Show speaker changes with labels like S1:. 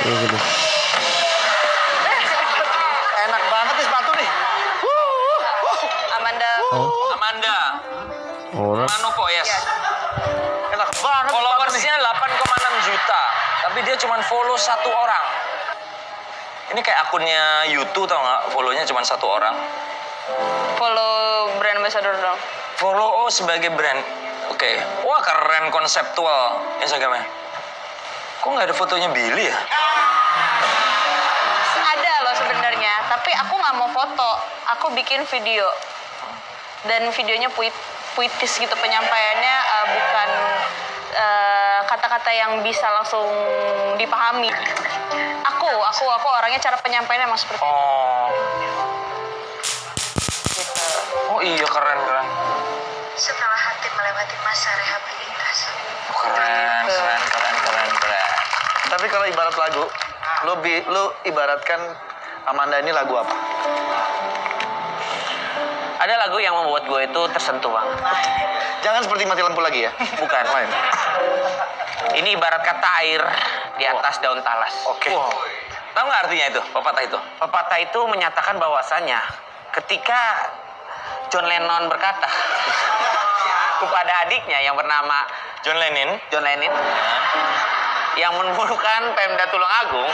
S1: Kayak gitu.
S2: Enak banget nih sepatu nih.
S3: Amanda.
S1: Oh,
S4: Amanda
S1: orang
S4: Manuko yes.
S3: Yes.
S2: Iya, Enak banget sepatu nih.
S4: Followersnya 8,6 juta, tapi dia cuma follow satu orang. Ini kayak akunnya YouTube tau nggak? Follownya cuma satu orang.
S3: Follow brand ambassador dong.
S4: Follow oh sebagai brand. Oke, wah keren konseptual Instagramnya. Kok nggak ada fotonya Billy ya?
S3: Ada loh sebenarnya, tapi aku nggak mau foto. Aku bikin video dan videonya puit, puitis gitu penyampaiannya eh, bukan eh, kata-kata yang bisa langsung dipahami. Aku, aku, aku orangnya cara penyampaiannya emang seperti itu.
S4: Oh, oh iya keren keren.
S5: setelah hati melewati masa rehabilitasi.
S4: Oh, keren keren keren keren keren.
S2: Tapi kalau ibarat lagu, lu, bi- lu ibaratkan Amanda ini lagu apa?
S6: Ada lagu yang membuat gue itu tersentuh banget.
S2: Jangan seperti mati lampu lagi ya.
S6: Bukan.
S2: Lain.
S6: Ini ibarat kata air di
S2: Oh.
S6: atas daun talas.
S2: Oke.
S4: Wow. Tahu nggak artinya itu? Pepatah itu?
S6: Pepatah itu menyatakan bahwasannya ketika John Lennon berkata kepada adiknya yang bernama
S4: John Lennon.
S6: John Lennon yang menemukan Pemda Tulungagung